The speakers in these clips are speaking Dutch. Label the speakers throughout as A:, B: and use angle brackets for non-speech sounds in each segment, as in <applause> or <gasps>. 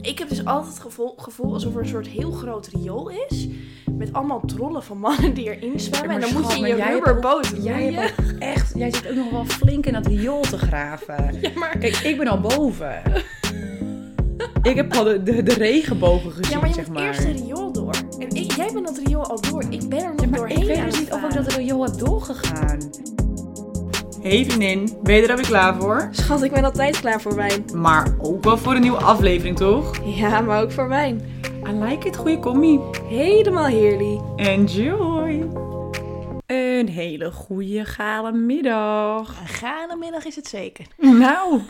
A: Ik heb dus altijd het gevoel, gevoel alsof er een soort heel groot riool is. Met allemaal drollen van mannen die erin zwemmen.
B: Maar
A: En dan
B: schat,
A: moet je in
B: maar
A: je
B: jij hebt
A: rubberboot
B: ook- Jij
A: roeien.
B: hebt ook echt, jij zit ook nog wel flink in dat riool te graven.
A: <laughs> Ja, maar,
B: Kijk, ik ben al boven. ik heb al de, de, de regenbogen gezien,
A: ja, maar je
B: zeg
A: moet
B: maar.
A: eerst het riool door. En ik, jij bent dat riool al door. Ik ben er nog
B: Ja, maar
A: doorheen
B: ik weet
A: aan
B: dus
A: het
B: niet of ik
A: gaan.
B: dat riool heb doorgegaan.
C: Hey vriendin, ben je er alweer klaar voor?
A: Schat, ik ben altijd klaar voor wijn.
C: Maar ook wel voor een nieuwe aflevering, toch?
A: Ja, maar ook voor wijn.
C: I like it, goede commie.
A: Helemaal heerlijk.
C: Enjoy!
B: Een hele goede gale middag.
A: Een gale middag is het zeker.
B: Nou,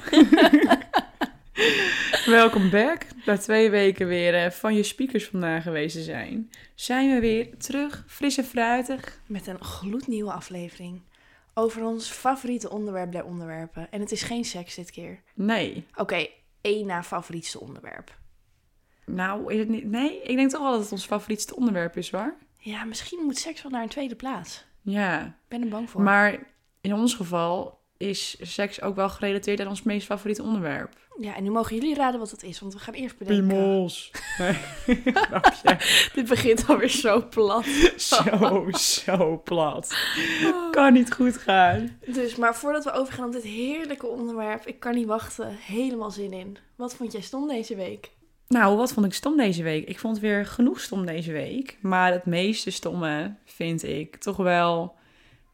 C: <laughs> Welkom back. Na twee weken weer eh, van je speakers vandaag geweest te zijn, zijn we weer terug, fris en fruitig.
A: Met een gloednieuwe aflevering over ons favoriete onderwerp der onderwerpen. En het is geen seks dit keer.
C: Nee,
A: Oké, één na favorietste onderwerp.
C: nou is het niet. Nee, ik denk toch wel dat het ons favorietste onderwerp is, waar?
A: Ja, misschien moet seks wel naar een tweede plaats.
C: Ja,
A: Ik ben er bang voor.
C: maar in ons geval is seks ook wel gerelateerd aan ons meest favoriete onderwerp.
A: Ja, en nu mogen jullie raden wat dat is, want we gaan eerst bedenken.
C: Nee,
A: <laughs> Dit begint alweer zo plat.
C: <laughs> zo, zo plat. Kan niet goed gaan.
A: Dus, maar voordat we overgaan op dit heerlijke onderwerp, ik kan niet wachten. Helemaal zin in. Wat vond jij stom deze week?
C: Nou, wat vond ik stom deze week? Ik vond weer genoeg stom deze week. Maar het meeste stomme vind ik toch wel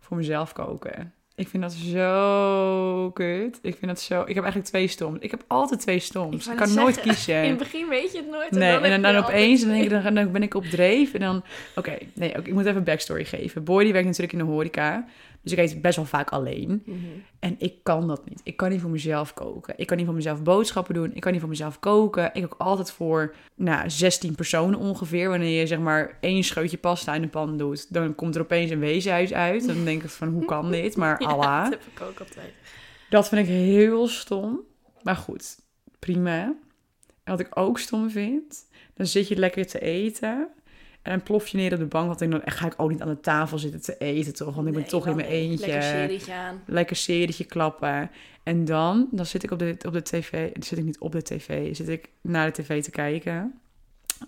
C: voor mezelf koken. Ik vind dat zo kut. Ik vind dat zo... Ik heb eigenlijk twee stoms. Ik heb altijd twee
A: Ik
C: stoms. Ik,
A: wou
C: kan
A: net
C: nooit
A: zeggen,
C: kiezen.
A: In het begin weet je het nooit.
C: Eh, Nee, en
A: heb
C: dan,
A: je
C: dan
A: altijd
C: opeens dan,
A: twee.
C: denk
A: <laughs>
C: ik, dan, dan ben ik op dreef. En dan, oké, nee, oké, ik moet even een backstory geven. Boy, die werkt natuurlijk in de horeca. Dus ik eet best wel vaak alleen.
A: Mhm.
C: En ik kan dat niet. Ik kan niet voor mezelf koken. Ik kan niet voor mezelf boodschappen doen. Ik kan niet voor mezelf koken. Ik kook altijd voor nou, 16 personen ongeveer. Wanneer je zeg maar één scheutje pasta in de pan doet, dan komt er opeens een weeshuis uit. Dan denk ik van hoe kan
A: <laughs>
C: dit? Maar
A: Ja,
C: Allah.
A: dat heb ik ook altijd.
C: Dat vind ik heel stom. Maar goed, prima. En wat ik ook stom vind, dan zit je lekker te eten. En dan plof je neer op de bank. Want ik denk dan ga ik ook niet aan de tafel zitten te eten, toch? Want ik ben
A: Nee,
C: toch in
A: wel
C: mijn
A: nee.
C: eentje.
A: Lekker serietje aan.
C: lekker serietje klappen. En dan, dan zit ik op de, op de tv, zit ik niet op de tv, zit ik naar de tv te kijken.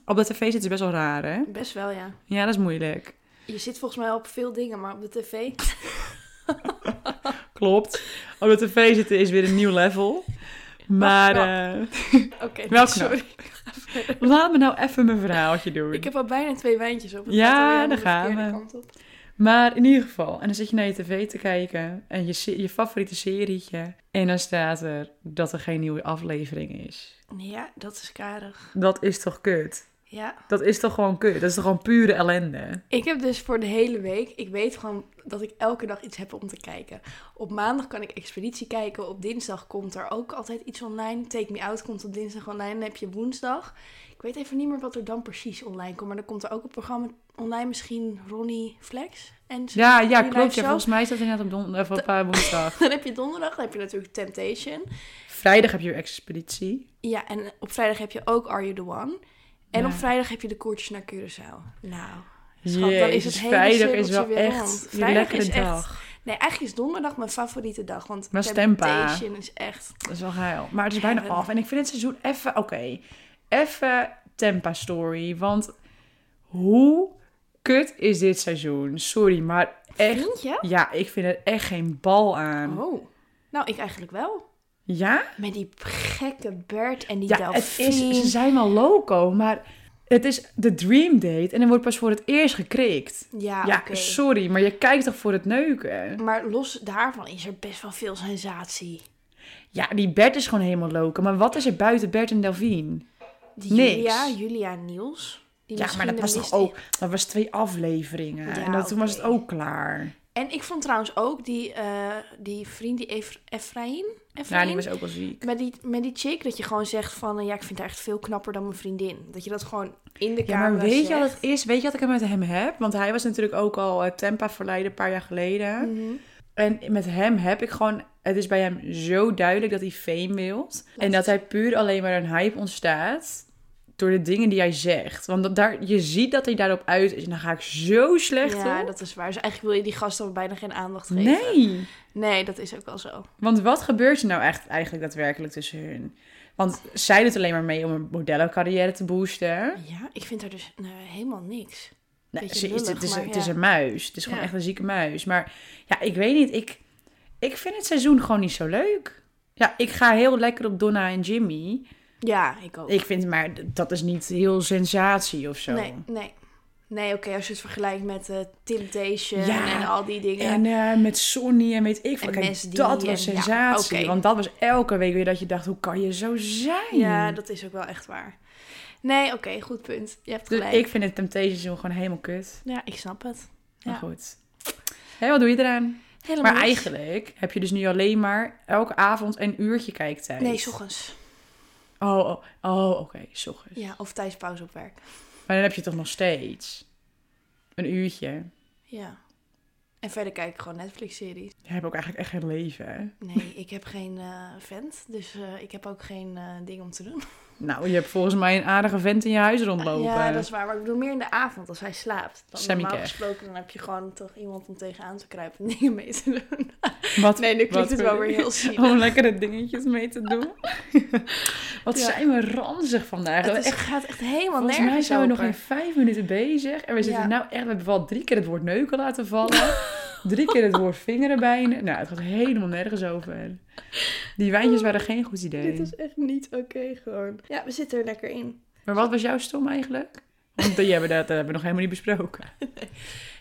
C: Op de tv zit is best wel raar, hè?
A: Best wel, ja.
C: Ja, dat is moeilijk.
A: Je zit volgens mij op veel dingen, maar op de tv... <laughs>
C: Klopt. Op de tv zitten is weer een nieuw level. Maar, eh
A: Oké,
C: Wel
A: sorry.
C: laat me nou even mijn verhaaltje doen.
A: Ik heb al bijna twee wijntjes op. Het
C: Ja,
A: gaat alweer helemaal
C: daar
A: de
C: gaan
A: verkeerde
C: we.
A: kant op.
C: Maar in ieder geval, en dan zit je naar je tv te kijken en je, se- je favoriete serietje. En dan staat er dat er geen nieuwe aflevering is.
A: Ja, dat is karig.
C: Dat is toch kut?
A: Ja,
C: Dat is toch gewoon kut? Dat is toch gewoon pure ellende?
A: ik heb dus voor de hele week, ik weet gewoon dat ik elke dag iets heb om te kijken. Op maandag kan ik Expeditie kijken, op dinsdag komt er ook altijd iets online. Take Me Out komt op dinsdag online, dan heb je woensdag. Ik weet even niet meer wat er dan precies online komt, maar dan komt er ook een programma online, misschien Ronnie Flex. En zo.
C: Ja, ja,
A: Die
C: klopt.
A: live
C: Ja,
A: show?
C: volgens mij is dat inderdaad op, don- of op eh, woensdag.
A: <laughs> Dan heb je donderdag, dan heb je natuurlijk Temptation.
C: Vrijdag heb je weer expeditie.
A: Ja, en op vrijdag heb je ook Are You The One. En
C: Ja.
A: op vrijdag heb je de koortjes naar Curaçao. Nou, schat, dan is het
C: Jezus,
A: hele
C: vrijdag is
A: cirkeltje
C: wel
A: weer
C: echt
A: rond.
C: je
A: Vrijdag
C: lekkere
A: is echt-
C: dag.
A: nee, eigenlijk is donderdag mijn favoriete dag. Want
C: Maar Stempa.
A: Temptation is echt...
C: Dat is wel geil. Maar het is bijna
A: Heaven.
C: af. En ik vind het seizoen even, oké, even tempa story. Want hoe kut is dit seizoen? Sorry, maar echt. Ehm.
A: Vind je?
C: Ja, ik vind er echt geen bal aan.
A: Oh. Nou, ik eigenlijk wel.
C: Ja?
A: Met die gekke Bert en die
C: Ja, het
A: delfin.
C: is, ze zijn wel loco, maar het is de dream date. En dan wordt pas voor het eerst gekrikt.
A: Ja,
C: ja,
A: oké.
C: sorry, maar je kijkt toch voor het neuken?
A: Maar los daarvan is er best wel veel sensatie.
C: Ja, die Bert is gewoon helemaal loco. Maar wat is er buiten Bert en Delphine?
A: Die
C: Niks.
A: Julia, Julia en Niels. Die
C: Ja,
A: misschien
C: maar dat
A: de
C: was toch
A: mist in-
C: ook... Dat was twee afleveringen.
A: Ja,
C: en dat, toen was het
A: oké.
C: ook klaar.
A: En ik vond trouwens ook die, eh, die vriend, die Efra- Efraïn.
C: Ja,
A: Efraïn?
C: die was ook wel ziek.
A: Met die, met die chick dat je gewoon zegt van... eh, ja, ik vind haar echt veel knapper dan mijn vriendin. Dat je dat gewoon in de
C: Ja,
A: camera
C: maar weet je
A: zegt.
C: wat het is? Weet je wat ik met hem heb? Want hij was natuurlijk ook al eh, Tempa verleiden een paar jaar geleden.
A: Mhm.
C: En met hem heb ik gewoon... Het is bij hem zo duidelijk dat hij fame wilt. En dat hij puur alleen maar een hype ontstaat... Door de dingen die hij zegt. Want dat daar, je ziet dat hij daarop uit is. En dan ga ik zo slecht
A: Ja,
C: op.
A: dat is waar. Dus eigenlijk wil je die gast al bijna geen aandacht geven.
C: Nee.
A: Nee, dat is ook wel zo.
C: Want wat gebeurt er nou echt eigenlijk daadwerkelijk tussen hun? Want zij doet alleen maar mee om een modellencarrière te boosten.
A: Ja, ik vind daar dus nou, helemaal niks.
C: Nee,
A: Beetje
C: ze is,
A: lullig,
C: het, is,
A: maar
C: het is
A: ja.
C: een muis. Het is gewoon
A: Ja.
C: echt een zieke muis. Maar ja, ik weet niet. Ik, ik vind het seizoen gewoon niet zo leuk. Ja, ik ga heel lekker op Donna en Jimmy.
A: Ja, ik ook.
C: Ik vind, maar d- dat is niet heel sensatie of zo.
A: Nee, nee. Nee, oké, als je het vergelijkt met eh Temptation
C: Ja,
A: en al die dingen.
C: En eh, met Sonny en weet ik veel.
A: En Mes
C: Kijk,
A: die
C: dat was
A: en- ja,
C: sensatie.
A: oké.
C: Want dat was elke week weer dat je dacht, hoe kan je zo zijn?
A: ja, dat is ook wel echt waar. Nee, oké, goed punt. Je hebt
C: dus
A: gelijk.
C: ik vind het Temptation seizoen gewoon helemaal kut.
A: Ja, ik snap het.
C: Maar
A: Ja.
C: goed. Hé, wat doe je eraan?
A: Helemaal
C: Maar
A: niks.
C: eigenlijk heb je dus nu alleen maar elke avond een uurtje kijktijd.
A: Nee, 's ochtends.
C: Oh, oh, oh, oké, s ochtends.
A: Ja, of tijdens pauze op werk.
C: Maar dan heb je toch nog steeds een uurtje.
A: Ja. En verder kijk ik gewoon Netflix-series.
C: Je hebt ook eigenlijk echt geen leven, hè?
A: Nee, ik heb geen eh, vent, dus eh, ik heb ook geen eh, ding om te doen.
C: Nou, je hebt volgens mij een aardige vent in je huis rondlopen.
A: Ja, dat is waar. Maar ik bedoel meer in de avond, als hij slaapt. Dan
C: Sammy
A: normaal
C: Kerr.
A: gesproken dan heb je gewoon toch iemand om tegenaan te kruipen en dingen mee te
C: <laughs>
A: doen.
C: Wat,
A: Nee, nu
C: wat
A: klinkt het
C: voor
A: wel
C: Oh, dingen?
A: weer
C: <laughs>
A: heel zielig.
C: Om lekkere dingetjes mee te
A: <laughs>
C: doen. wat
A: Ja.
C: zijn we ranzig vandaag.
A: Het
C: Dat
A: is,
C: echt,
A: gaat echt helemaal
C: volgens
A: nergens
C: mij zijn we nog
A: over.
C: geen vijf minuten bezig. En we zitten
A: Ja.
C: nou echt... We hebben wel drie keer het woord neuken laten
A: <laughs>
C: vallen. drie keer het woord vingerenbijnen. Nou, het gaat helemaal nergens over. Die wijntjes waren geen goed idee.
A: Dit is echt niet oké gewoon. Ja, we zitten er lekker in.
C: Maar wat was jouw stom eigenlijk? Want die hebben dat, dat hebben we nog helemaal niet besproken.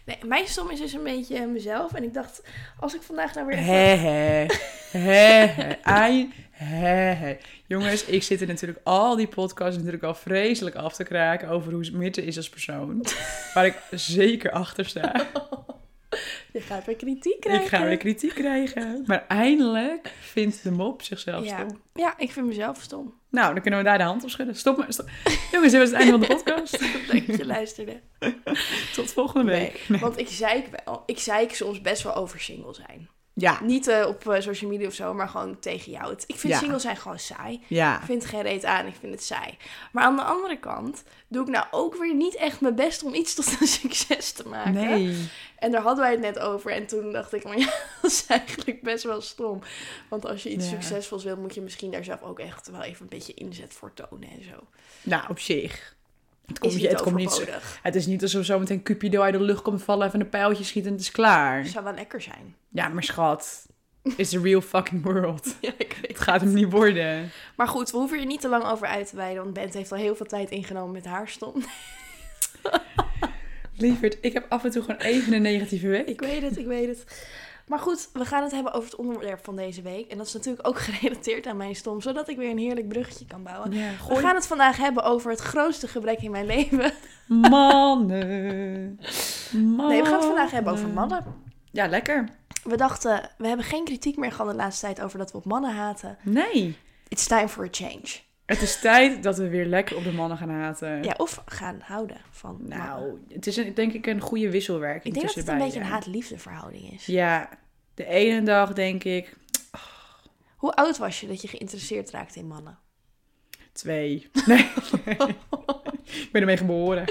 A: Nee, mijn stom is dus een beetje eh, mezelf. En ik dacht, als ik vandaag nou weer... even-
C: He he. He he. Ai, he, he. Jongens, ik zit er natuurlijk al die podcasts natuurlijk al vreselijk af te kraken over hoe Mitte is als persoon. Waar ik zeker achter sta.
A: Je gaat weer kritiek krijgen.
C: Ik ga weer kritiek krijgen. Maar eindelijk vindt de mop zichzelf
A: ja.
C: stom.
A: ja, ik vind mezelf stom. <laughs>
C: Nou, dan kunnen we daar de hand op schudden. Stop maar. Stop. Jongens, dit was het einde van de podcast.
A: <laughs> Leuk dat je luisterde.
C: Tot volgende week.
A: Want ik zei ik wel. Ik zei ik soms best wel over single zijn.
C: Ja,
A: Niet eh, op eh, social media of zo, maar gewoon tegen jou. Het- Ik vind
C: Ja.
A: single zijn gewoon saai.
C: ja.
A: Ik vind geen reet aan, ik vind het saai. Maar aan de andere kant doe ik nou ook weer niet echt mijn best om iets tot een <laughs> succes te maken.
C: Nee.
A: En daar hadden wij het net over. En toen dacht ik, maar ja, <laughs> dat is eigenlijk best wel stom. Want als je iets
C: Ja.
A: succesvols wil, moet je misschien daar zelf ook echt wel even een beetje inzet voor tonen en zo.
C: Nou, op zich. Het
A: Is
C: komt,
A: niet
C: je, het, komt niet, zo-
A: overbodig.
C: het is niet alsof zometeen Cupido uit de lucht komt vallen, even een pijltje schiet en het is klaar.
A: Zou wel lekker zijn.
C: Ja, maar schat. It's the real fucking <laughs> world.
A: Ja, ik weet
C: Het gaat hem niet worden.
A: Maar goed, we hoeven hier niet te lang over uit te wijden. Want Bent heeft al heel veel tijd ingenomen met haar stom.
C: Lieverd, ik heb af en toe gewoon even een negatieve
A: Ik
C: week.
A: weet het, ik weet het. Maar goed, we gaan het hebben over het onderwerp van deze week. En dat is natuurlijk ook <laughs> gerelateerd aan mijn stom. Zodat ik weer een heerlijk bruggetje kan bouwen.
C: Ja,
A: We
C: gooi.
A: gaan het vandaag hebben over het grootste gebrek in mijn leven.
C: Mannen. Mannen.
A: Nee, we gaan het vandaag hebben over mannen.
C: Ja, lekker.
A: We dachten, we hebben geen kritiek meer gehad de laatste tijd over dat we op mannen haten.
C: Nee.
A: It's time for a change.
C: Het is tijd dat we weer lekker op de mannen gaan haten.
A: Ja, of gaan houden van mannen.
C: Nou, het is een, denk ik een goede wisselwerking
A: Ik denk dat
C: tussen
A: het een beetje een
C: beiden.
A: haat-liefde verhouding is.
C: Ja, de ene dag denk ik
A: Hoe oud was je dat je geïnteresseerd raakte in mannen?
C: <laughs> Twee. Nee. ik ben ermee <laughs> geboren.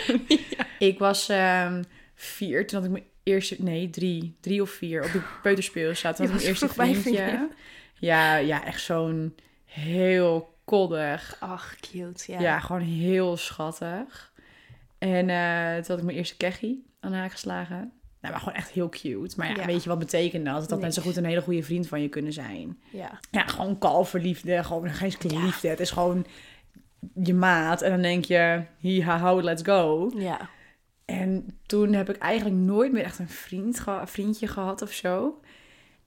C: Ik was ehm, vier toen had ik mijn eerste... Nee, drie. Drie of vier. Op de peuterspeel zat toen
A: Je
C: had ik mijn
A: was
C: eerste
A: vroeg bij een
C: vriendje.
A: vriendin.
C: Ja, ja, echt zo'n heel koddig.
A: Ach, cute, ja.
C: Ja, gewoon heel schattig. En eh, toen had ik mijn eerste keggie aan haar geslagen. Nou, maar gewoon echt heel cute. Maar ja,
A: Ja.
C: weet je wat betekende dat? Dat
A: Niks.
C: mensen goed een hele goede vriend van je kunnen zijn.
A: Ja.
C: Ja, gewoon kalverliefde. Gewoon geen liefde. Het is gewoon je maat. En dan denk je, hi, ha, ho, let's go.
A: Ja.
C: En toen heb ik eigenlijk nooit meer echt een vriend geha- vriendje gehad of zo.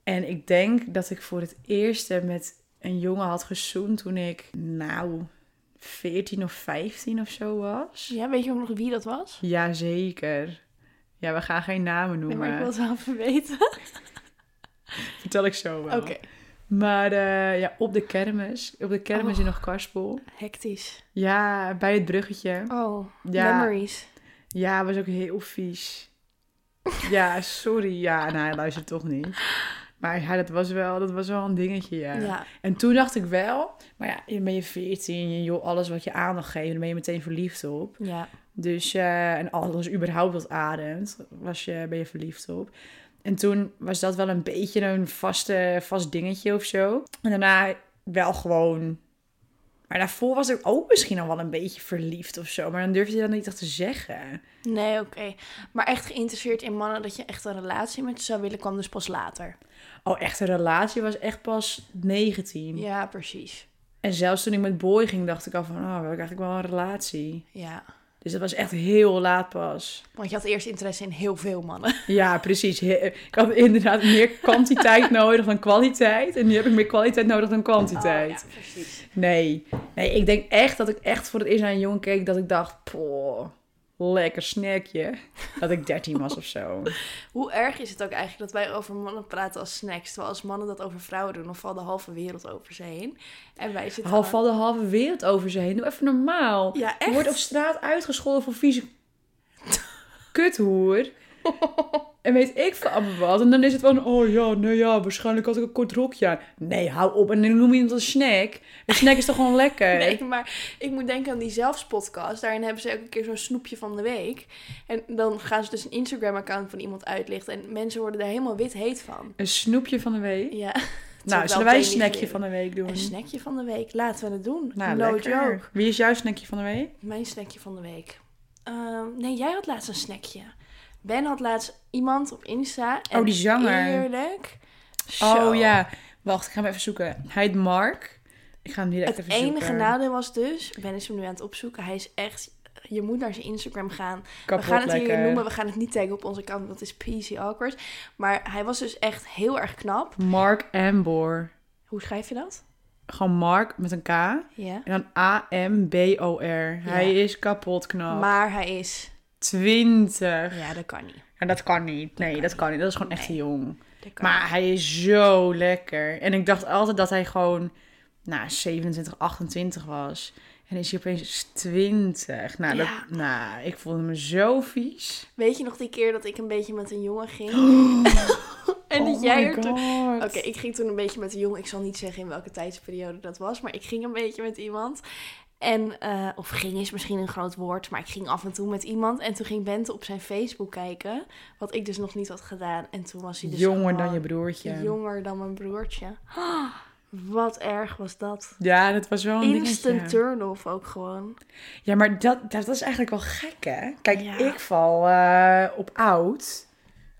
C: En ik denk dat ik voor het eerst met een jongen had gezoend toen ik, nou, 14 of 15 of zo was.
A: Ja, weet je ook nog wie dat was?
C: Jazeker. Ja, we gaan geen namen
A: Nee,
C: noemen.
A: maar ik wil het wel even weten.
C: Vertel ik zo wel.
A: Oké.
C: Maar eh, ja, op de kermis. Op de
A: Oh.
C: kermis in Karspel.
A: Hectisch.
C: Ja, bij het bruggetje.
A: Oh,
C: Ja.
A: memories.
C: Ja, was ook heel vies. Ja, sorry. Ja, nou, hij luistert toch niet. Maar ja, dat was wel, dat was wel een dingetje, ja.
A: Ja.
C: En toen dacht ik wel, maar ja, je ben je 14, joh, alles wat je aandacht geeft, dan ben je meteen verliefd op.
A: Ja.
C: Dus, eh, en alles überhaupt wat ademt, was je, ben je verliefd op. En toen was dat wel een beetje een vaste, vast dingetje of zo. En daarna wel gewoon Maar daarvoor was ik ook misschien al wel een beetje verliefd of zo. Maar dan durfde je dat niet echt te zeggen.
A: Nee, oké. Maar echt geïnteresseerd in mannen dat je echt een relatie met ze zou willen, kwam dus pas later.
C: Oh, echt een relatie was echt pas 19.
A: Ja, precies.
C: En zelfs toen ik met Boy ging, dacht ik al van... Oh, wil ik eigenlijk wel een relatie?
A: Ja.
C: Dus dat was echt heel laat pas.
A: Want je had eerst interesse in heel veel mannen.
C: Ja, precies. He- Ik had inderdaad meer kwantiteit nodig dan kwaliteit. En nu heb ik meer kwaliteit nodig dan kwantiteit.
A: Oh, ja, precies.
C: Nee. Nee, ik denk echt dat ik echt voor het eerst naar een jongen keek dat ik dacht, poh, lekker snackje. Dat ik 13 was of zo.
A: Hoe erg is het ook eigenlijk dat wij over mannen praten als snacks, terwijl als mannen dat over vrouwen doen, dan valt de halve wereld over ze heen. En wij zitten
C: Half
A: gewoon-
C: van de halve wereld over ze heen. Doe even normaal.
A: Ja,
C: Je
A: echt.
C: wordt op straat uitgescholden voor vieze <laughs> kuthoer.
A: <laughs>
C: En weet ik van allemaal wat. En dan is het van, oh ja, nee ja, waarschijnlijk had ik een kort rokje aan. Nee, hou op. En dan noem je het een snack. Een snack is
A: <laughs>
C: toch gewoon lekker?
A: Nee, maar ik moet denken aan die zelfspodcast. Daarin hebben ze elke keer zo'n snoepje van de week. En dan gaan ze dus een Instagram-account van iemand uitlichten. En mensen worden daar helemaal wit heet van.
C: Een snoepje van de week.
A: Ja. Het
C: Nou,
A: is
C: zullen
A: wel
C: wij
A: meteen
C: een snackje
A: niet
C: van de week doen?
A: Een snackje van de week. Laten we het doen.
C: Mm. Nou,
A: no
C: lekker.
A: joke.
C: Wie is jouw snackje van de week?
A: Mijn snackje van de week. Ehm, nee, jij had laatst een snackje. Ben had laatst iemand op Insta. En
C: Oh, die zanger.
A: Eerlijk. Zo.
C: Oh ja, wacht, ik ga hem even zoeken. Hij heet Mark. Ik ga hem direct
A: Het
C: even zoeken.
A: enige nadeel was dus, Ben is hem nu aan het opzoeken. Hij is echt, je moet naar zijn Instagram gaan.
C: Kapot
A: we gaan het
C: lekker.
A: hier noemen, we gaan het niet taggen op onze account, want het is PC awkward. Maar hij was dus echt heel erg knap.
C: Mark Ambor.
A: Hoe schrijf je dat?
C: Gewoon Mark met een K.
A: Ja.
C: En dan A-M-B-O-R. Hij is kapot knap.
A: Maar hij is,
C: 20.
A: ja, dat kan niet.
C: En dat kan niet. Nee, dat kan niet. Dat is gewoon echt te jong.
A: Dat kan niet.
C: Maar hij is zo lekker. En ik dacht altijd dat hij gewoon nou, 27, 28 was. En is hij opeens 20. Nou,
A: Ja.
C: dat, nou ik voelde me zo vies.
A: Weet je nog die keer dat ik een beetje met een jongen
C: <gasps>
A: ging? <laughs> en dat
C: Oh
A: jij
C: my
A: er toen...
C: God.
A: Oké, ik ging toen een beetje met een jongen. Ik zal niet zeggen in welke tijdsperiode dat was, maar ik ging een beetje met iemand. En, eh, of ging is misschien een groot woord, maar ik ging af en toe met iemand. En toen ging Bente op zijn Facebook kijken, wat ik dus nog niet had gedaan. En toen was hij dus
C: Jonger dan
A: gewoon
C: je broertje.
A: jonger dan mijn broertje. Ah, wat erg was dat.
C: Ja, dat was wel een
A: Instant
C: dingetje.
A: turn-off ook gewoon.
C: Ja, maar dat, dat is eigenlijk wel gek, hè? Kijk,
A: Ja.
C: ik val eh, op oud.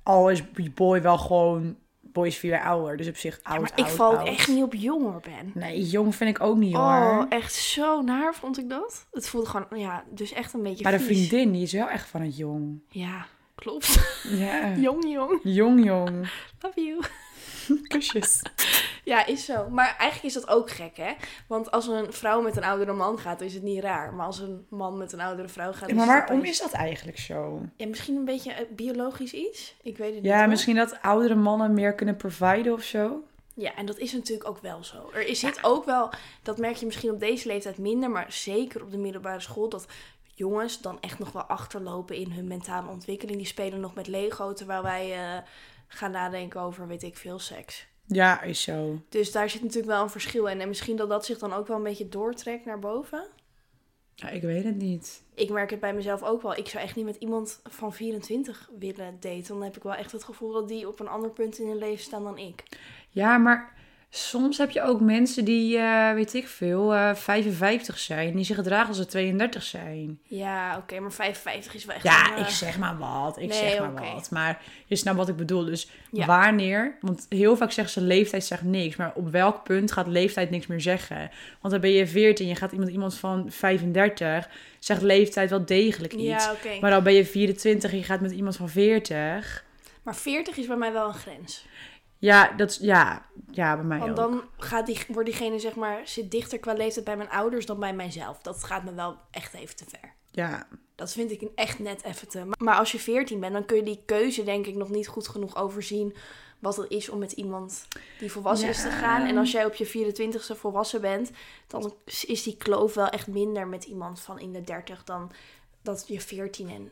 C: Al is Boy wel gewoon... Boy is vier jaar ouder, dus op zich oud,
A: maar ik
C: oud,
A: val ook
C: oud.
A: echt niet op jonger ben.
C: Nee, jong vind ik ook niet, hoor.
A: Oh, echt zo naar vond ik dat. Het voelde gewoon, ja, dus echt een beetje
C: maar de
A: vies.
C: vriendin, die is wel echt van het jong.
A: Ja, klopt.
C: Ja.
A: <laughs> jong, jong.
C: Jong, jong.
A: Love you.
C: Kusjes.
A: Ja, is zo. Maar eigenlijk is dat ook gek, hè? Want als een vrouw met een oudere man gaat, dan is het niet raar. Maar als een man met een oudere vrouw gaat...
C: maar
A: is het
C: waarom
A: opeens-
C: is dat eigenlijk zo?
A: Ja, misschien een beetje eh, biologisch iets? Ik weet het niet.
C: Ja,
A: hoor.
C: misschien dat oudere mannen meer kunnen providen of zo.
A: Ja, en dat is natuurlijk ook wel zo. Er is zit ook wel, dat merk je misschien op deze leeftijd minder, maar zeker op de middelbare school, dat jongens dan echt nog wel achterlopen in hun mentale ontwikkeling. Die spelen nog met Lego, terwijl wij eh, gaan nadenken over, weet ik veel, seks.
C: Ja, is zo.
A: Dus daar zit natuurlijk wel een verschil in. En misschien dat dat zich dan ook wel een beetje doortrekt naar boven.
C: Ja, ik weet het niet.
A: Ik merk het bij mezelf ook wel. Ik zou echt niet met iemand van 24 willen daten. Dan heb ik wel echt het gevoel dat die op een ander punt in hun leven staan dan ik.
C: Ja, maar soms heb je ook mensen die, eh, weet ik veel, eh 55 zijn. Die zich gedragen als ze 32 zijn.
A: Ja, oké, maar 55 is wel echt...
C: Ja,
A: een, eh,
C: ik zeg maar wat. Ik
A: nee,
C: zeg maar
A: oké.
C: wat. Maar je snapt wat ik bedoel. Dus
A: Ja.
C: wanneer... Want heel vaak zeggen ze leeftijd zegt niks. Maar op welk punt gaat leeftijd niks meer zeggen? Want dan ben je 14. Je gaat iemand, iemand van 35. Zegt leeftijd wel degelijk iets.
A: Ja, oké.
C: Maar dan ben je 24. Je gaat met iemand van 40.
A: Maar 40 is bij mij wel een grens.
C: Ja, dat, is- ja, ja bij mij ook.
A: Want dan gaat die, wordt diegene, zeg maar, zit dichter qua leeftijd bij mijn ouders dan bij mijzelf. Dat gaat me wel echt even te ver.
C: Ja,
A: Dat vind ik een echt net even te. Maar als je 14 bent, dan kun je die keuze, denk ik, nog niet goed genoeg overzien. Wat het is om met iemand die volwassen is te gaan. En als jij op je 24ste volwassen bent, dan is die kloof wel echt minder met iemand van in de 30 dan dat je 14 en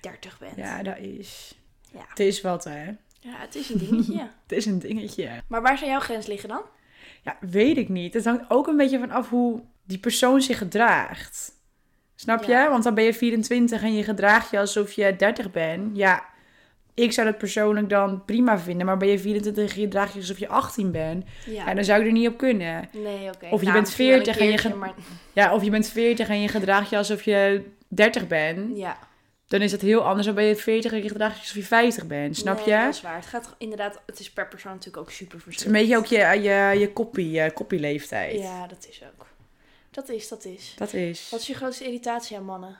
A: 30 bent.
C: ja, dat is...
A: ja.
C: Het is wat, hè.
A: Ja, het is een
C: <laughs>
A: dingetje.
C: Het is een dingetje.
A: maar waar zou jouw grens liggen dan?
C: Ja, weet ik niet. Het hangt ook een beetje van af hoe die persoon zich gedraagt. Snap
A: Ja.
C: je? Want dan ben je 24 en je gedraagt je alsof je 30 bent. Ja, Ik zou dat persoonlijk dan prima vinden, maar ben je 24 en je draagt je alsof je 18 bent.
A: Ja.
C: Ja, dan zou ik er niet op kunnen.
A: Nee, oké.
C: Of je
A: Nou,
C: bent
A: misschien wel een
C: 40 en je
A: keertje,
C: gaat- Hm?
A: maar-
C: Ja, of je bent 40 en je gedraagt je alsof je 30 bent.
A: Ja.
C: Dan is dat heel anders dan ben je 40 en je gedraagt je alsof je 50 bent. Snap
A: Nee,
C: je?
A: Dat is waar. Het gaat inderdaad... Het is per persoon natuurlijk ook super
C: Het is
A: verschillend.
C: een beetje ook je, je, eh, je koppie, je koppieleeftijd.
A: Ja, dat is ook. Dat is, dat is.
C: Dat is.
A: Wat is je grootste irritatie aan mannen?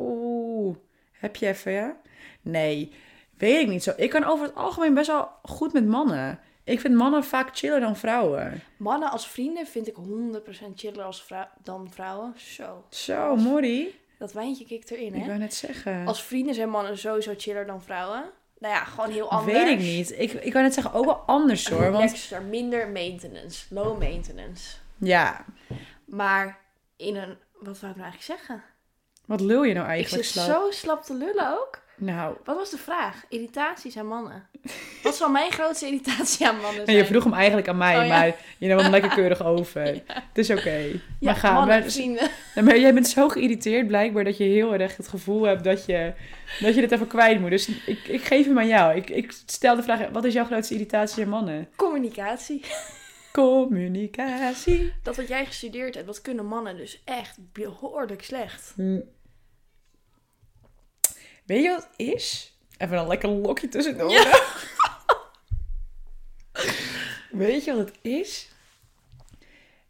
C: Oh, heb je even, ja? Nee, weet ik niet zo. Ik kan over het algemeen best wel goed met mannen. Ik vind mannen vaak chiller dan vrouwen.
A: Mannen als vrienden vind ik 100% chiller als vrou- dan vrouwen. Zo.
C: Zo, Mori.
A: Dat wijntje kikt erin,
C: Ik
A: hè?
C: wou net zeggen.
A: Als vrienden zijn mannen sowieso chiller dan vrouwen. Nou ja, gewoon heel anders.
C: Weet ik niet. Ik, ik wou net zeggen, ook wel anders hoor. Want
A: Relaxter, minder maintenance. Low maintenance.
C: ja,
A: Maar in een... Wat wou ik nou eigenlijk zeggen?
C: wat lul je nou
A: Ik
C: eigenlijk?
A: zit
C: Slap?
A: zo slap te lullen ook.
C: Nou,
A: Wat was de vraag? Irritaties aan mannen. Wat zal mijn grootste irritatie aan mannen zijn?
C: nee, je vroeg hem eigenlijk aan mij,
A: Oh, ja.
C: maar je nam hem lekker
A: <laughs>
C: keurig over. Het is oké.
A: ja,
C: Maar ga,
A: mannen,
C: maar-
A: vrienden. <laughs>
C: Ja, maar jij bent zo geïrriteerd blijkbaar dat je heel erg het gevoel hebt dat je, dat je dit even kwijt moet. Dus ik, ik geef hem aan jou. Ik, ik stel de vraag, wat is jouw grootste irritatie aan mannen?
A: Communicatie.
C: Communicatie.
A: Dat wat jij gestudeerd hebt, dat kunnen mannen dus echt behoorlijk slecht.
C: Hm. Weet je wat het is? Even een lekker lokje tussendoor. <laughs> Weet je wat het is?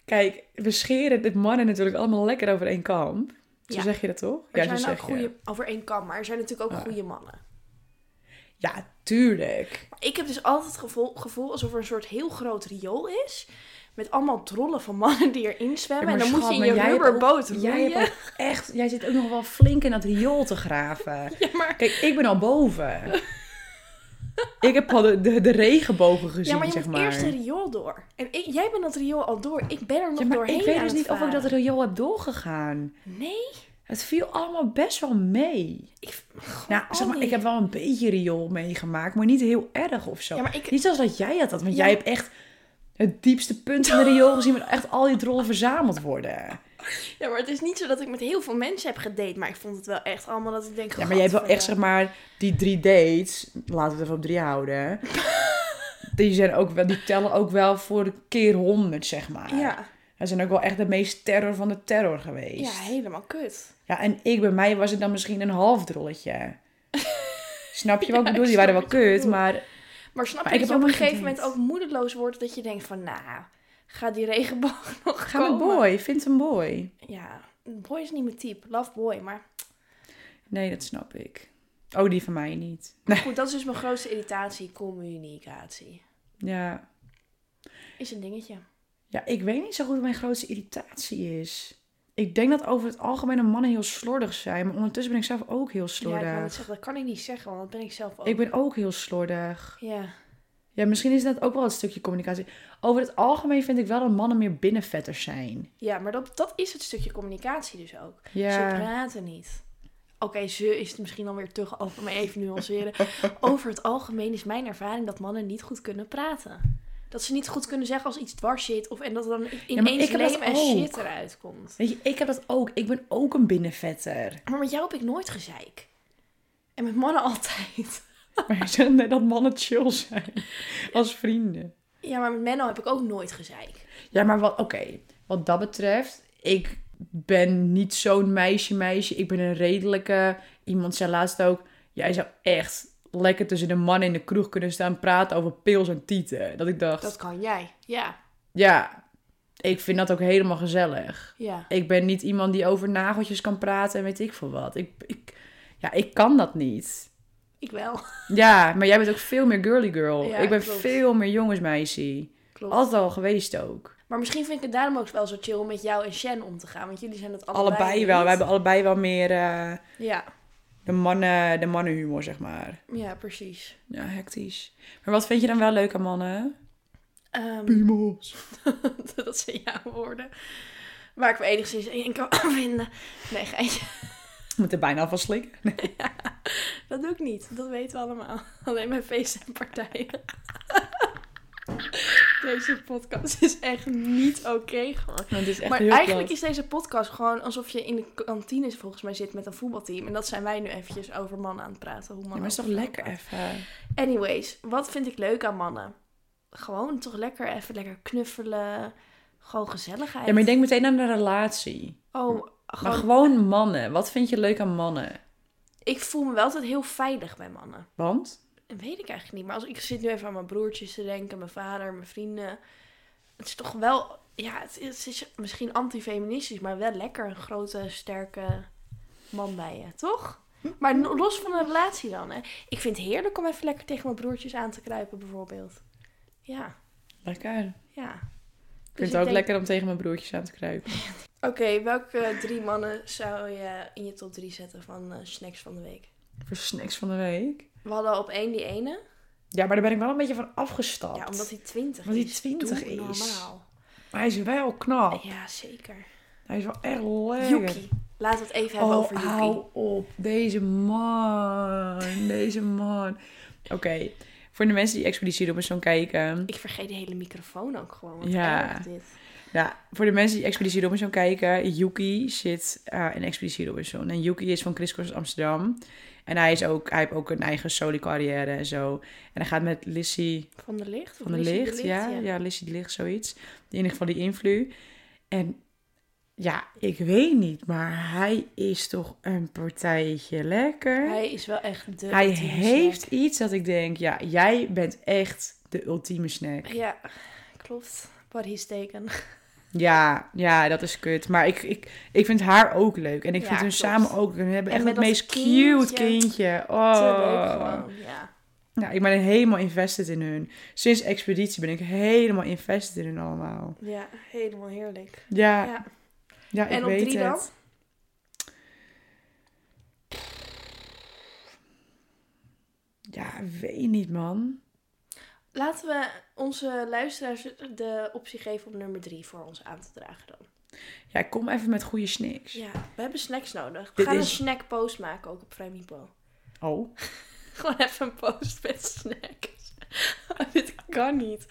C: Kijk, we scheren de mannen natuurlijk allemaal lekker over één kamp. Zo
A: Ja.
C: zeg je dat toch?
A: Er
C: zo
A: zijn ook
C: zeg je.
A: goede, over één kam, maar er zijn natuurlijk ook
C: Ah.
A: goede mannen.
C: Ja, tuurlijk.
A: Maar ik heb dus altijd het gevoel, gevoel alsof er een soort heel groot riool is. Met allemaal drollen van mannen die erin zwemmen.
C: Ja,
A: en
C: maar
A: dan moet je in
C: schat,
A: je
C: maar jij hebt
A: rubberboot
C: ook- Jij,
A: roeien.
C: hebt ook echt, jij zit ook nog wel flink in dat riool te graven.
A: <laughs> Ja, maar,
C: Kijk, ik ben al boven. Ik heb al de, de, de regenbogen gezien,
A: ja, maar je
C: zeg
A: moet
C: maar.
A: eerst het riool door. En ik- jij bent dat riool al door. Ik ben er nog
C: Ja, maar
A: doorheen
C: ik weet
A: aan
C: dus
A: het
C: niet of ik dat
A: varen.
C: riool heb doorgegaan.
A: Nee.
C: Het viel allemaal best wel mee.
A: Ik,
C: Nou, zeg maar, ik heb wel een beetje riool meegemaakt, maar niet heel erg of zo.
A: Ja, maar ik-
C: Niet zoals dat jij dat had, want
A: Ja,
C: jij
A: maar-
C: hebt echt het diepste punt van de riool gezien... waar echt al die drollen verzameld worden.
A: Ja, maar het is niet zo dat ik met heel veel mensen heb gedate. Maar ik vond het wel echt allemaal dat ik denk...
C: Ja, maar jij hebt wel echt,
A: "Gadverdamme."
C: zeg maar, die drie dates. Laten we het even op drie
A: <laughs>
C: houden. die, zijn ook wel, die tellen ook wel voor de keer honderd, zeg maar.
A: Ja,
C: Dat zijn ook wel echt de meest terror van de terror
A: ja,
C: geweest. Ja,
A: helemaal kut.
C: en ik, bij mij was het dan misschien een half
A: <laughs>
C: drolletje. snap je wat ik
A: Ja,
C: bedoel?
A: ik
C: Die waren
A: snap
C: wel
A: wat je
C: kut,
A: bedoelt.
C: maar...
A: Maar snap
C: Maar
A: je
C: ik
A: dat je op
C: heb ook
A: een
C: nog geen
A: gegeven moment
C: date.
A: ook moedeloos wordt dat je denkt van, nou, ga die regenboog <laughs> nog
C: Ga met
A: komen?
C: boy, vind een boy.
A: Ja, boy is niet mijn type. Love boy, maar
C: Nee, dat snap ik. Oh, die van mij niet. Nee.
A: goed, dat is dus mijn grootste irritatie, communicatie.
C: Ja.
A: Is een dingetje.
C: ja, ik weet niet zo goed wat mijn grootste irritatie is. Ik denk dat over het algemeen mannen heel slordig zijn. Maar ondertussen ben ik zelf ook heel slordig.
A: Ja, ik wou net zeggen, dat kan ik niet zeggen, want dat ben ik zelf ook.
C: Ik ben ook heel slordig.
A: Ja,
C: Ja, misschien is dat ook wel het stukje communicatie. Over het algemeen vind ik wel dat mannen meer binnenvetters zijn.
A: ja maar dat, dat is het stukje communicatie dus ook. Ze
C: Ja.
A: praten niet. Oké, ze is het misschien alweer te geopen, maar even nuanceren.
C: <laughs>
A: Over het algemeen is mijn ervaring dat mannen niet goed kunnen praten. Dat ze niet goed kunnen zeggen als iets dwars zit. Of, en dat er dan ineens
C: ik heb dat
A: leem en
C: ook.
A: shit eruit komt.
C: Weet je, ik heb dat ook. Ik ben ook een binnenvetter. <laughs>
A: Maar met jou heb ik nooit gezeik. En met mannen <laughs> altijd.
C: Maar je zegt net dat mannen chill zijn. Als vrienden.
A: Ja, maar met Menno heb ik ook nooit gezeik.
C: Ja, maar wat, oké. Wat dat betreft, ik ben niet zo'n meisje-meisje. Ik ben een redelijke. Iemand zei laatst ook, jij zou echt lekker tussen de mannen in de kroeg kunnen staan praten over pils en tieten. Dat ik dacht,
A: Dat kan jij. Ja,
C: ja, ik vind dat ook helemaal gezellig.
A: ja.
C: Ik ben niet iemand die over nageltjes kan praten en weet ik veel wat. Ik, ik, ja, ik kan dat niet.
A: Ik
C: <laughs>
A: wel.
C: Ja, maar jij bent ook veel meer girly girl.
A: Ja,
C: ik ben
A: klopt.
C: veel meer jongensmeisje.
A: Klopt.
C: Altijd al geweest ook.
A: Maar misschien vind ik het daarom ook wel zo chill om met jou en Shen om te gaan. Want jullie zijn dat allebei
C: Allebei, wel.
A: niet.
C: We hebben allebei wel meer eh,
A: Ja,
C: de, mannen, de mannenhumor, zeg maar.
A: ja precies.
C: Ja, hectisch. Maar wat vind je dan wel leuk aan mannen?
A: Ehm, <laughs>
C: <laughs> Piemels.
A: dat zijn jouw woorden. Waar ik me enigszins in kan <laughs> vinden. Nee, geintje.
C: Ik moet er bijna van slikken.
A: <laughs> Dat doe ik niet. Dat weten we allemaal. Alleen mijn feesten en partijen. <laughs> Deze podcast is echt niet oké geworden.
C: Want het is echt
A: Maar
C: heel
A: eigenlijk
C: plat.
A: is deze podcast gewoon alsof je in de kantine volgens mij zit met een voetbalteam. En dat zijn wij nu eventjes over mannen aan het praten. Hoe
C: Ja,
A: mannen
C: maar het is toch
A: over
C: lekker
A: vrouwen
C: even.
A: praten. Anyways, wat vind ik leuk aan mannen? Gewoon toch lekker even lekker knuffelen. Gewoon gezelligheid.
C: Ja, maar ik denk meteen aan de relatie.
A: Oh,
C: Maar
A: gewoon...
C: gewoon mannen. Wat vind je leuk aan mannen?
A: Ik voel me wel altijd heel veilig bij mannen.
C: Want?
A: Dat weet ik eigenlijk niet. Maar als ik zit nu even aan mijn broertjes te denken, mijn vader, mijn vrienden. Het is toch wel, ja, het is, het is misschien antifeministisch, maar wel lekker een grote, sterke man bij je, toch? Maar no- los van een relatie dan, hè. Ik vind het heerlijk om even lekker tegen mijn broertjes aan te kruipen, bijvoorbeeld. Ja,
C: Lekker. Ik
A: ja.
C: vind
A: Dus
C: het ook
A: denk-
C: lekker om tegen mijn broertjes aan te kruipen.
A: Oké, welke drie mannen zou je in je top drie zetten van eh, snacks van de week?
C: Voor snacks van de week.
A: We hadden op één die ene.
C: Ja, maar daar ben ik wel een beetje van afgestapt.
A: Ja, omdat hij 20
C: Omdat hij
A: is.
C: 20
A: Doe
C: is.
A: normaal.
C: Maar hij is wel knap.
A: Ja, zeker.
C: Hij is wel echt lekker.
A: Yuki. Laten we het even hebben
C: Oh,
A: over Yuki.
C: hou op. Deze man. Deze man. Oké. Voor de mensen die Expeditie Robinson kijken.
A: Ik vergeet de hele microfoon ook gewoon. Wat
C: Ja.
A: erg dit.
C: Nou, voor de mensen die Expeditie Robinson kijken. Yuki zit eh, in Expeditie Robinson. En Yuki is van Chris Cross Amsterdam. En hij, is ook, hij heeft ook een eigen solo carrière en zo. En hij gaat met Lissy...
A: Van de licht?
C: Van de licht, ja, ja. Lizzie de licht, zoiets. In ieder geval die invloed. En ja, ik weet niet, maar hij is toch een partijtje lekker. Hij,
A: Hij is wel echt de ultieme
C: heeft iets dat ik denk, ja, jij bent echt de ultieme snack.
A: snack. Ja, klopt. What he's taken.
C: Ja, ja, dat is kut. Maar ik, ik, ik vind haar ook leuk. En ik
A: Ja,
C: vind hun
A: klopt.
C: samen ook leuk. We hebben
A: En
C: echt
A: met
C: het
A: dat
C: meest cute
A: kindje. <laughs>
C: kindje.
A: Te
C: Oh.
A: leuk gewoon, ja.
C: Ja, ik ben helemaal invested in hun. Sinds Expeditie ben ik helemaal invested in hun allemaal.
A: Ja, helemaal heerlijk.
C: Ja,
A: Ja.
C: ja. ik
A: En op
C: weet
A: drie
C: het.
A: dan?
C: Ja, weet niet, man.
A: Laten we onze luisteraars de optie geven om nummer drie voor ons aan te dragen dan.
C: Ja, kom even met goede snacks.
A: Ja, we hebben snacks nodig. We
C: Dit
A: gaan een
C: is-
A: snackpost maken ook op Fremipo.
C: Oh. <laughs>
A: <laughs> Gewoon even een post met <laughs> snacks. Dit kan niet.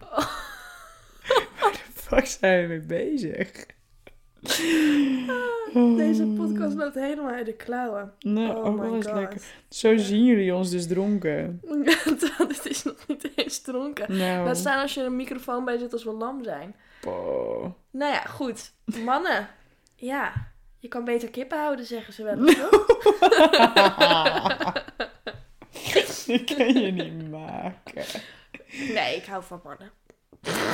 A: Oh,
C: Fuck, zijn we mee bezig?
A: Deze podcast loopt helemaal uit de klauwen.
C: Nou,
A: Oh,
C: ook wel
A: my
C: eens
A: god.
C: lekker.
A: <laughs>
C: Zo zien jullie ons dus dronken.
A: Dit is nog niet eens dronken.
C: Nou,
A: Laat staan als je een microfoon bij zit als we lam zijn.
C: poh. <laughs>
A: Nou ja, goed. Mannen. Ja. Je kan beter kippen houden, zeggen ze wel. eens,
C: <laughs>
A: toch?
C: Die kan je niet maken.
A: Nee, ik hou van mannen.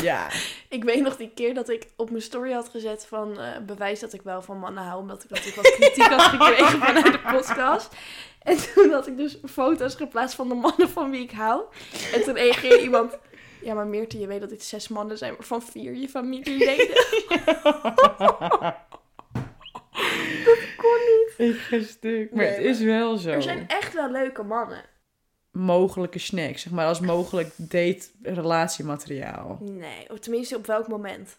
C: Ja.
A: Ik weet nog die keer dat ik op mijn story had gezet van eh, bewijs dat ik wel van mannen hou. Omdat ik natuurlijk wat kritiek had gekregen vanuit de podcast. En toen had ik dus foto's geplaatst van de mannen van wie ik hou. En toen reageerde iemand... Ja, maar Meerte, je weet dat dit zes mannen zijn, maar van vier je familieleden. dat kon niet.
C: Ik ga stuk. Maar
A: Nee,
C: het is wel zo.
A: Er zijn echt wel leuke mannen.
C: Mogelijke snacks, zeg maar, als mogelijk date-relatiemateriaal.
A: Nee, of tenminste op welk moment.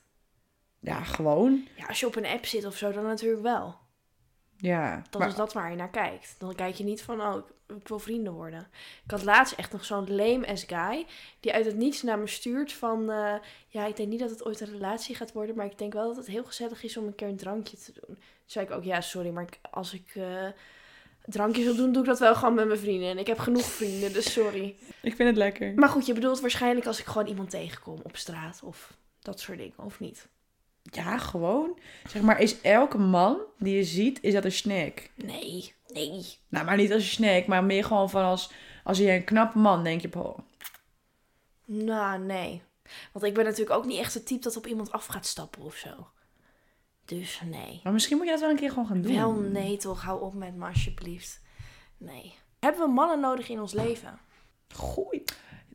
C: Ja, gewoon.
A: Ja, als je op een app zit of zo, dan natuurlijk wel.
C: Ja.
A: Dat
C: maar
A: is dat waar je naar kijkt. Dan kijk je niet van, oh, ik- ik wil vrienden worden. Ik had laatst echt nog zo'n lame-ass guy... die uit het niets naar me stuurt van... eh, ja, ik denk niet dat het ooit een relatie gaat worden... maar ik denk wel dat het heel gezellig is om een keer een drankje te doen. Toen zei ik ook, ja, sorry, maar ik- als ik eh, drankjes wil doen... doe ik dat wel gewoon met mijn vrienden. En ik heb genoeg vrienden, dus sorry.
C: ik vind het lekker.
A: Maar goed, je bedoelt waarschijnlijk als ik gewoon iemand tegenkom op straat... of dat soort dingen, of niet?
C: Ja, gewoon. Zeg maar, is elke man die je ziet, is dat een snack?
A: Nee, nee.
C: Nou, maar niet als een snack, maar meer gewoon van als, als je een knappe man, denk je, oh,
A: Nou, nee. Want ik ben natuurlijk ook niet echt het type dat op iemand af gaat stappen of zo. Dus nee.
C: maar misschien moet je dat wel een keer gewoon gaan doen.
A: Wel nee toch, hou op met me alsjeblieft. Nee. Hebben we mannen nodig in ons leven?
C: Goeie.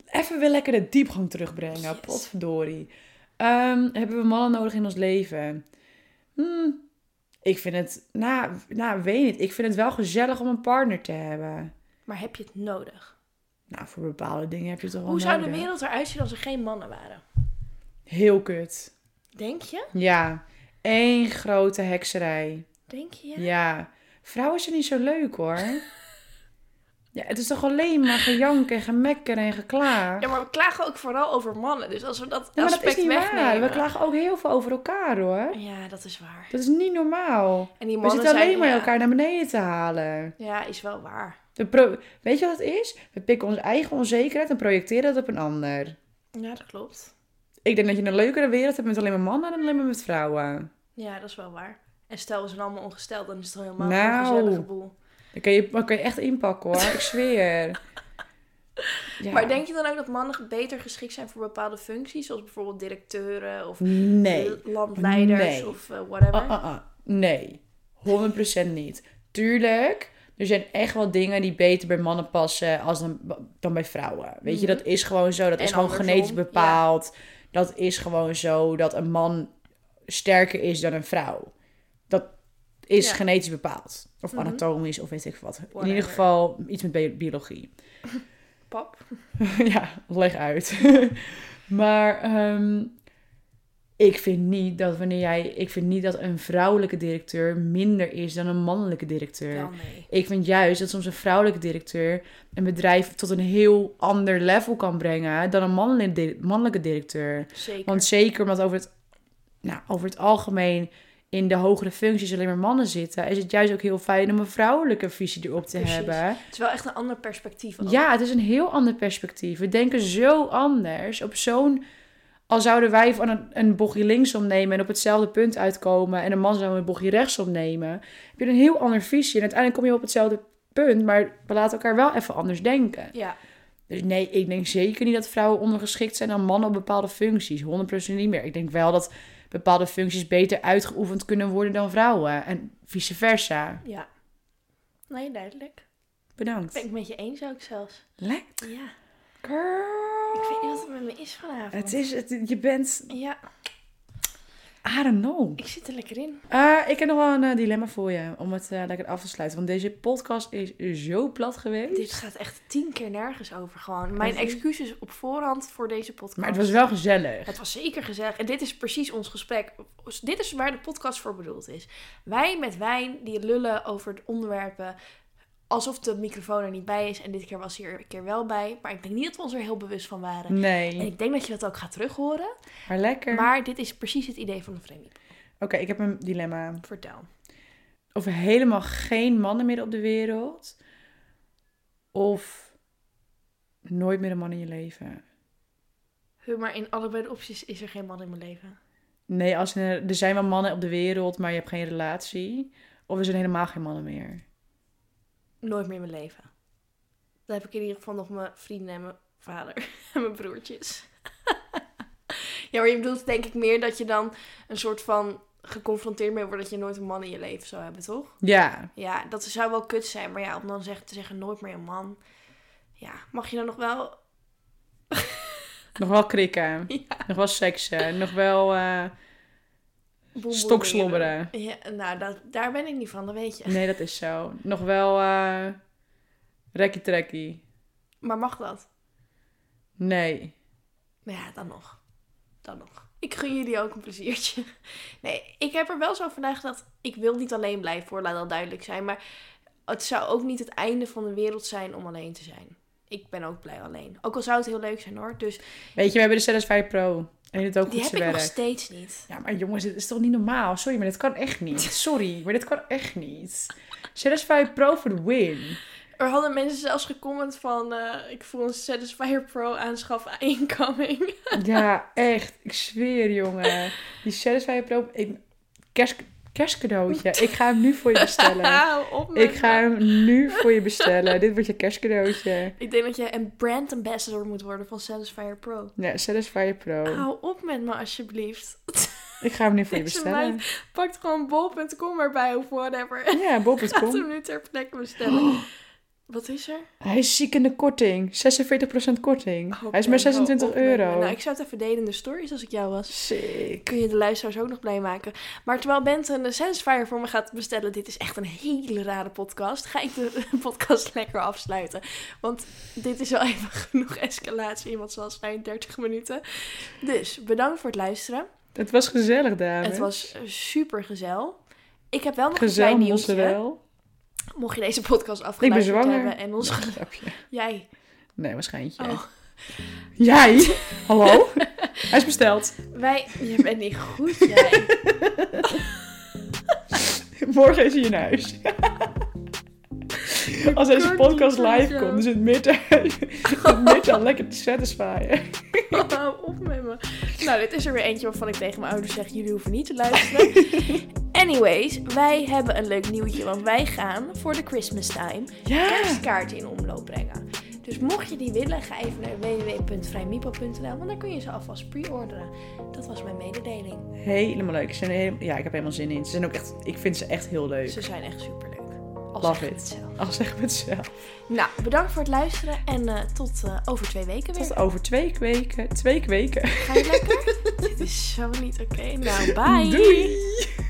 C: Even weer lekker de diepgang terugbrengen,
A: Yes.
C: potverdorie. Ehm, hebben we mannen nodig in ons leven? Hmm, ik vind het, nou, nou, weet niet. Ik vind het wel gezellig om een partner te hebben.
A: Maar heb je het nodig?
C: Nou, voor bepaalde dingen heb je het toch wel
A: Hoe zou de
C: nodig.
A: wereld eruit zien als er geen mannen waren?
C: Heel kut.
A: Denk je?
C: Ja, één grote hekserij.
A: Denk je?
C: Ja. Vrouwen zijn niet zo leuk hoor. Ja, het is toch alleen maar gejank en gemekker en geklaag.
A: Ja, maar we klagen ook vooral over mannen. Dus als we dat
C: Ja, maar dat is
A: aspect
C: niet waar.
A: wegnemen...
C: We klagen ook heel veel over elkaar hoor.
A: Ja, dat is waar.
C: Dat is niet normaal.
A: En die
C: We
A: mannen
C: zitten alleen
A: zijn,
C: maar
A: ja.
C: elkaar naar beneden te halen.
A: Ja, is wel waar.
C: We pro- Weet je wat het is? We pikken onze eigen onzekerheid en projecteren dat op een ander.
A: Ja, dat klopt.
C: Ik denk dat je een leukere wereld hebt met alleen maar mannen dan alleen maar met vrouwen.
A: Ja, dat is wel waar. En stel, we zijn allemaal ongesteld, dan is het toch helemaal
C: Nou.
A: een gezellige boel.
C: Dan kan je, dan kan je echt inpakken hoor, ik zweer.
A: <laughs>
C: Ja.
A: Maar denk je dan ook dat mannen beter geschikt zijn voor bepaalde functies? Zoals bijvoorbeeld directeuren of
C: Nee.
A: landleiders
C: Nee.
A: of eh, whatever?
C: Ah, ah, ah. Nee, 100% niet. Tuurlijk, er zijn echt wel dingen die beter bij mannen passen als dan, dan bij vrouwen. Weet je,
A: Mhm.
C: dat is gewoon zo. Dat
A: En
C: is gewoon
A: andersom,
C: genetisch
A: ja.
C: bepaald. Dat is gewoon zo dat een man sterker is dan een vrouw. Dat is
A: Ja.
C: genetisch bepaald. Of
A: Mhm.
C: anatomisch, of weet ik wat. In
A: Whatever.
C: ieder geval iets met bi- biologie.
A: Pap?
C: <laughs> ja, leg uit. <laughs> maar ehm, ik vind niet dat wanneer jij. Ik vind niet dat een vrouwelijke directeur minder is dan een mannelijke directeur.
A: Wel nee.
C: Ik vind juist dat soms een vrouwelijke directeur een bedrijf tot een heel ander level kan brengen dan een mannelijke, di- mannelijke directeur.
A: Zeker.
C: Want zeker omdat over het, nou, over het algemeen in de hogere functies alleen maar mannen zitten, is het juist ook heel fijn om een vrouwelijke visie erop te
A: Precies.
C: hebben.
A: Het is wel echt een ander perspectief. ook.
C: Ja, het is een heel ander perspectief. We denken zo anders. Op zo'n. Al zouden wij van een, een bochtje linksom nemen en op hetzelfde punt uitkomen. En een man zou een bochtje rechtsom nemen. Heb je een heel ander visie. En uiteindelijk kom je op hetzelfde punt. Maar we laten elkaar wel even anders denken.
A: Ja,
C: Dus nee, ik denk zeker niet dat vrouwen ondergeschikt zijn aan mannen op bepaalde functies. 100% niet meer. Ik denk wel dat bepaalde functies beter uitgeoefend kunnen worden dan vrouwen. En vice versa.
A: ja. Nee, duidelijk. Ben
C: Bedankt.
A: ik met je eens ook zelfs.
C: Lekker.
A: Ja. Ik weet niet wat er met me is vanavond.
C: Het is, het, je bent
A: Ja,
C: I don't know.
A: ik zit er lekker in.
C: Eh, ik heb nog wel een eh, dilemma voor je om het eh, lekker af te sluiten. Want deze podcast is zo plat geweest.
A: Dit gaat echt tien keer nergens over gewoon. Mijn
C: Precies.
A: excuses op voorhand voor deze podcast.
C: Maar het was wel gezellig.
A: Het was zeker gezellig. En dit is precies ons gesprek. Dit is waar de podcast voor bedoeld is. Wij met wijn die lullen over het onderwerpen. Alsof de microfoon er niet bij is. En dit keer was hij er een keer wel bij. Maar ik denk niet dat we ons er heel bewust van waren. En
C: Nee,
A: ik denk dat je dat ook gaat terughoren.
C: maar lekker.
A: Maar dit is precies het idee van de vreemde.
C: Oké, ik heb een dilemma.
A: Vertel.
C: Of er helemaal geen mannen meer op de wereld. Of nooit meer een man in je leven.
A: Huh, Maar in allebei de opties is er geen man in mijn leven.
C: Nee, als eh, er, er zijn wel mannen op de wereld, maar je hebt geen relatie. Of er zijn helemaal geen mannen meer.
A: Nooit meer in mijn leven. Dan heb ik in ieder geval nog mijn vrienden en mijn vader <laughs> en mijn broertjes. <laughs> ja, maar je bedoelt denk ik meer dat je dan een soort van geconfronteerd mee wordt dat je nooit een man in je leven zou hebben, toch?
C: Ja,
A: Ja, dat zou wel kut zijn. Maar ja, om dan zeg, te zeggen nooit meer een man. Ja, mag je dan nog wel...
C: nog wel krikken. <laughs> Nog wel seksen. Nog wel eh,
A: boelboel
C: stokslobberen.
A: dingen doen? Ja, nou, dat, daar ben ik niet van, dat weet je.
C: Nee, dat is zo. Nog wel eh rekkie trekkie.
A: Maar mag dat?
C: Nee.
A: Maar ja, dan nog. Dan nog. Ik gun jullie ook een pleziertje. <laughs> Nee, ik heb er wel zo vandaag dat ik wil niet alleen blijven hoor, laat dat duidelijk zijn. Maar het zou ook niet het einde van de wereld zijn om alleen te zijn. Ik ben ook blij alleen. Ook al zou het heel leuk zijn hoor. Dus
C: Weet je, we hebben de Satisfy Pro. En het ook
A: die
C: goed
A: heb
C: zijn
A: ik nog
C: werk.
A: steeds niet.
C: Ja, maar jongens, dit is toch niet normaal? Sorry, maar dit kan echt <laughs> niet. Sorry, maar dit kan echt niet. Satisfy Pro voor de win.
A: Er hadden mensen zelfs gecomment van eh, ik voel een Satisfyer Pro aanschaf incoming. <laughs>
C: Ja, echt. Ik zweer, jongen. Die Satisfy Pro... Ik, kerst, kerstcadeautje. Ik ga hem nu voor je <laughs> bestellen.
A: Hou op met
C: Ik ga
A: me.
C: hem nu voor je bestellen. Dit wordt je kerstcadeautje.
A: Ik denk dat je een brand ambassador moet worden van Satisfyer Pro.
C: Ja, Satisfy Pro.
A: Hou op met me alsjeblieft.
C: Ik ga hem nu voor je
A: Deze
C: bestellen.
A: Pakt gewoon bol.com erbij of whatever. En
C: Ja,
A: gaat
C: bol.com.
A: hem nu ter plekke bestellen. Wat is er?
C: Oh. Hij is ziek in de korting. 46% korting.
A: Oh,
C: Hij is maar
A: Ken, hou
C: 26
A: op met me.
C: euro.
A: Nou, ik zou het even delen in de stories als ik jou was.
C: Sick.
A: Kun je de luisteraars ook nog blij maken. Maar terwijl Bent een Sensefire voor me gaat bestellen, dit is echt een hele rare podcast, ga ik de <laughs> podcast lekker afsluiten. Want dit is wel even <laughs> genoeg escalatie in wat zal zijn 30 minuten. Dus bedankt voor het luisteren.
C: Het was gezellig, dames.
A: Het was super gezel. Ik heb wel nog een
C: gezellig,
A: klein nieuwtje.
C: mozzarella.
A: Mocht je deze podcast afgeluisterd
C: zwanger.
A: hebben en ons...
C: Wacht, grapje.
A: Jij.
C: Nee, waarschijnlijk jij.
A: Oh,
C: Jij?
A: <laughs>
C: Hallo? Hij is besteld.
A: wij... Je bent niet goed,
C: <laughs>
A: jij.
C: Morgen is hij in
A: <laughs>
C: huis. Als deze
A: kan
C: podcast
A: niet,
C: live
A: Sasha.
C: komt, dan zit Mirte, <laughs> zit Mirte al lekker te satisfyen.
A: Hou op met me. Nou, dit is er weer eentje waarvan ik tegen mijn ouders zeg... Jullie hoeven niet te luisteren.
C: <laughs>
A: Anyways, wij hebben een leuk nieuwtje. Want wij gaan voor de Christmas
C: <gasps>
A: time
C: Ja!
A: kerstkaarten in omloop brengen. Dus mocht je die willen, ga even naar www.vrijmipo.nl, want daar kun je ze alvast pre-orderen. Dat was mijn mededeling.
C: Helemaal leuk. Ze zijn heel- ja, ik heb helemaal zin in. Ze zijn ook echt, ik vind ze echt heel leuk.
A: Ze zijn echt superleuk. Al
C: Love
A: zeggen we
C: it.
A: het zelf.
C: Al zeggen we het zelf.
A: Nou, bedankt voor het luisteren en eh, tot eh, over twee weken weer.
C: Tot over twee weken. Twee weken.
A: Ga je lekker? Dit is zo niet oké. Nou, bye!
C: Doei!